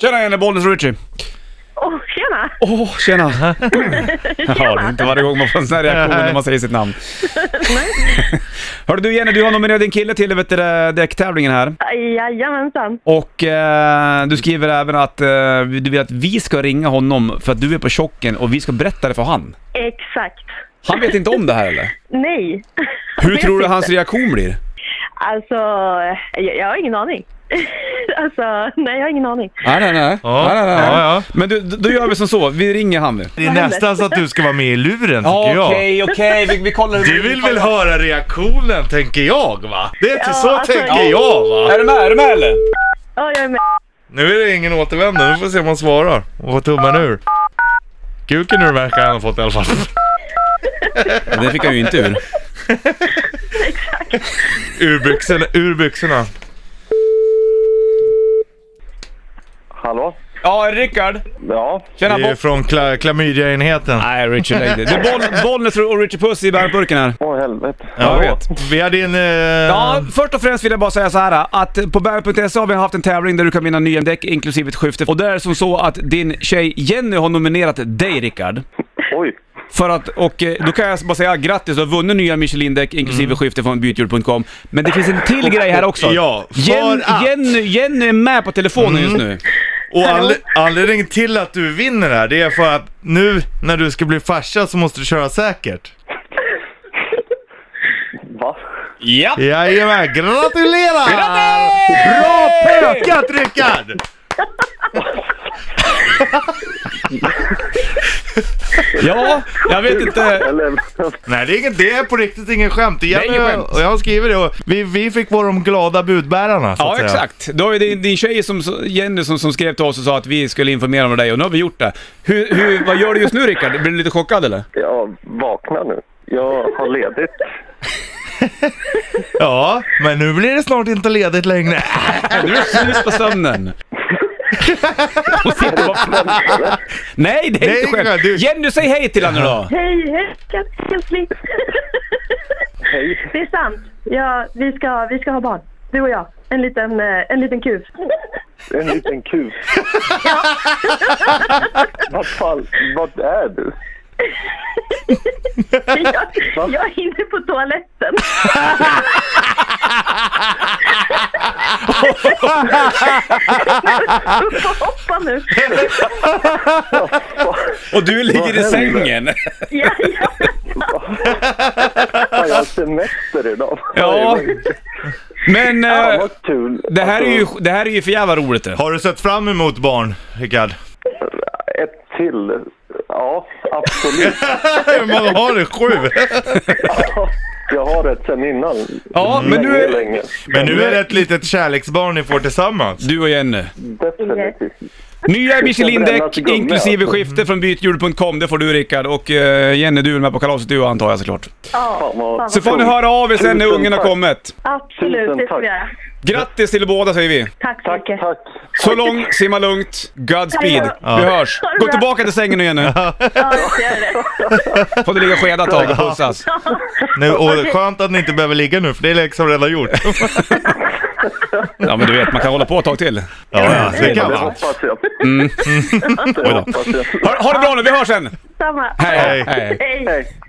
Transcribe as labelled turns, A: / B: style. A: Tjena Jenny, Bollnäs och Richie.
B: Åh, tjena!
A: Åh, tjena! ja, det är inte varje gång man får en sån här reaktion när man säger sitt namn. Hörru du Jenny, du har nominerat din kille till vet du, det, däcktävlingen här.
B: Jajamensan.
A: Och eh, du skriver även att eh, du vill att vi ska ringa honom för att du är på chocken och vi ska berätta det för han.
B: Exakt.
A: Han vet inte om det här eller?
B: Nej.
A: Hur tror du hans reaktion blir?
B: Alltså, jag, jag har ingen aning. Alltså, nej jag har ingen aning.
A: Nej, nej, nej.
C: Ja,
A: nej, nej, nej.
C: ja, ja.
A: Men du, då gör vi som så, vi ringer han nu.
C: Det är
B: Vad händer?
C: nästan så att du ska vara med i luren tycker jag.
A: okej, vi, vi kollar
C: Du vill väl höra reaktionen tänker jag va? Det är inte
B: Ja,
C: så
B: alltså-
C: tänker jag va?
A: Är du med? Är du med eller?
B: Ja, jag är med.
C: Nu är det ingen återvändo, nu får vi se om han svarar. Och vad tummen ur. Kuken ur verkar han ha fått i alla fall.
A: Ja, den fick han ju inte ur.
C: Ur byxorna, ur byxorna.
D: Hallå?
A: Ja, Rickard.
D: Ja,
C: Det
A: Tjena
C: är
A: Bob.
C: från kla- klamydiaenheten.
A: Nej, Richard Lady. Det är Boll- Bollnäs och Richard Puss i bärburken här. Ehm.
D: åh helvete.
A: jag vet.
C: Vi hade en... Eh...
A: Ja, först och främst vill jag bara säga så här att på bär.se har vi haft en tävling där du kan vinna nya däck inklusive ett skifte. Och där är det som så att din tjej Jenny har nominerat dig Rickard.
D: Oj.
A: För att, och eh, då kan jag bara säga grattis, du har vunnit nya Michelin-däck inklusive skifte från bytjul.com. Men det finns en till grej här också.
C: Ja, för
A: Jen,
C: att-
A: Jenny, Jenny är med på telefonen just nu.
C: Och anle- anledningen till att du vinner här, det är för att nu när du ska bli farsa så måste du köra säkert.
D: Va?
A: Ja.
C: Jajamän, gratulerar! Bra pökat Rickard!
A: Ja, jag vet inte.
D: Eller,
C: Nej det är, inget, det är på riktigt ingen skämt. Det är
A: ingen skämt.
C: Och jag har skrivit det och vi, vi fick vara de glada budbärarna så att
A: Ja,
C: säga.
A: exakt. Då är det din tjej, som, Jenny, som, som skrev till oss och sa att vi skulle informera om dig och nu har vi gjort det. Hur, hur, vad gör du just nu Rickard? Blir du lite chockad eller?
D: jag vaknar nu. Jag har ledigt.
C: Ja, men nu blir det snart inte ledigt längre.
A: Du är slut på sömnen. Och sitter bara fram- Nej, det är
C: Nej,
A: inte skämt.
C: du-
A: Jenny, säg hej till henne då.
B: Hej, hej, kansli.
D: Hej.
B: Det är sant. Ja, vi ska, vi ska ha barn. Du och jag. En liten, eh, en liten kuf.
D: En liten kuf. Vad fan, vad är du?
B: Jag, jag är inne på toaletten. Upp och hoppa nu.
A: Och du ligger i
D: Vad händer?
A: sängen.
B: Ja, ja.
D: Fan, jag har semester idag.
A: Ja. Men
D: Fan,
A: eh,
D: vad kul.
A: det, här är ju,
D: Alltså,
A: det här är ju för jävla roligt det.
C: Har du sett fram emot barn, Rickard?
D: Alltså, Ett till. Ja, absolut.
C: Hur många har du? Sju?
D: Jag har ett sen innan.
A: Ja, men nu
D: Länge,
A: är
D: länge.
C: Men nu är det ett litet kärleksbarn ni får tillsammans.
A: du och Jenny.
D: Definitivt.
A: Nya
D: brännas
A: Michelin-däck
D: gummi,
A: inklusive
D: alltså.
A: skifte från bythjul.com, det får du Rickard. Och eh, Jenny, du är med på kalaset du antar jag såklart.
B: ja.
D: Fan, vad-
A: Så får ni höra av er sen när ungen har kommit.
B: Absolut, det ska vi göra.
A: Grattis till båda säger vi.
B: Tack så
D: Tack,
B: mycket.
D: tack.
A: Så lång, simma lugnt, Godspeed.
C: Ja.
A: Vi hörs.
B: Ha det
A: Gå
B: bra.
A: tillbaka till sängen nu igen nu.
B: Ja, jag ska göra det.
A: Får du ligga och skeda ett tag och pussas.
C: Nu, och skönt att ni inte behöver ligga nu, för det är liksom redan gjort.
A: Ja men du vet, man kan hålla på ett tag till.
C: Ja, ja, det kan
D: Det
C: man.
D: hoppas jag.
A: Mm.
D: Det hoppas jag.
A: Ha, ha det bra nu, vi hörs sen!
B: Samma.
A: Hej,
C: Hej.
A: hej.
B: Hej.
D: Hej.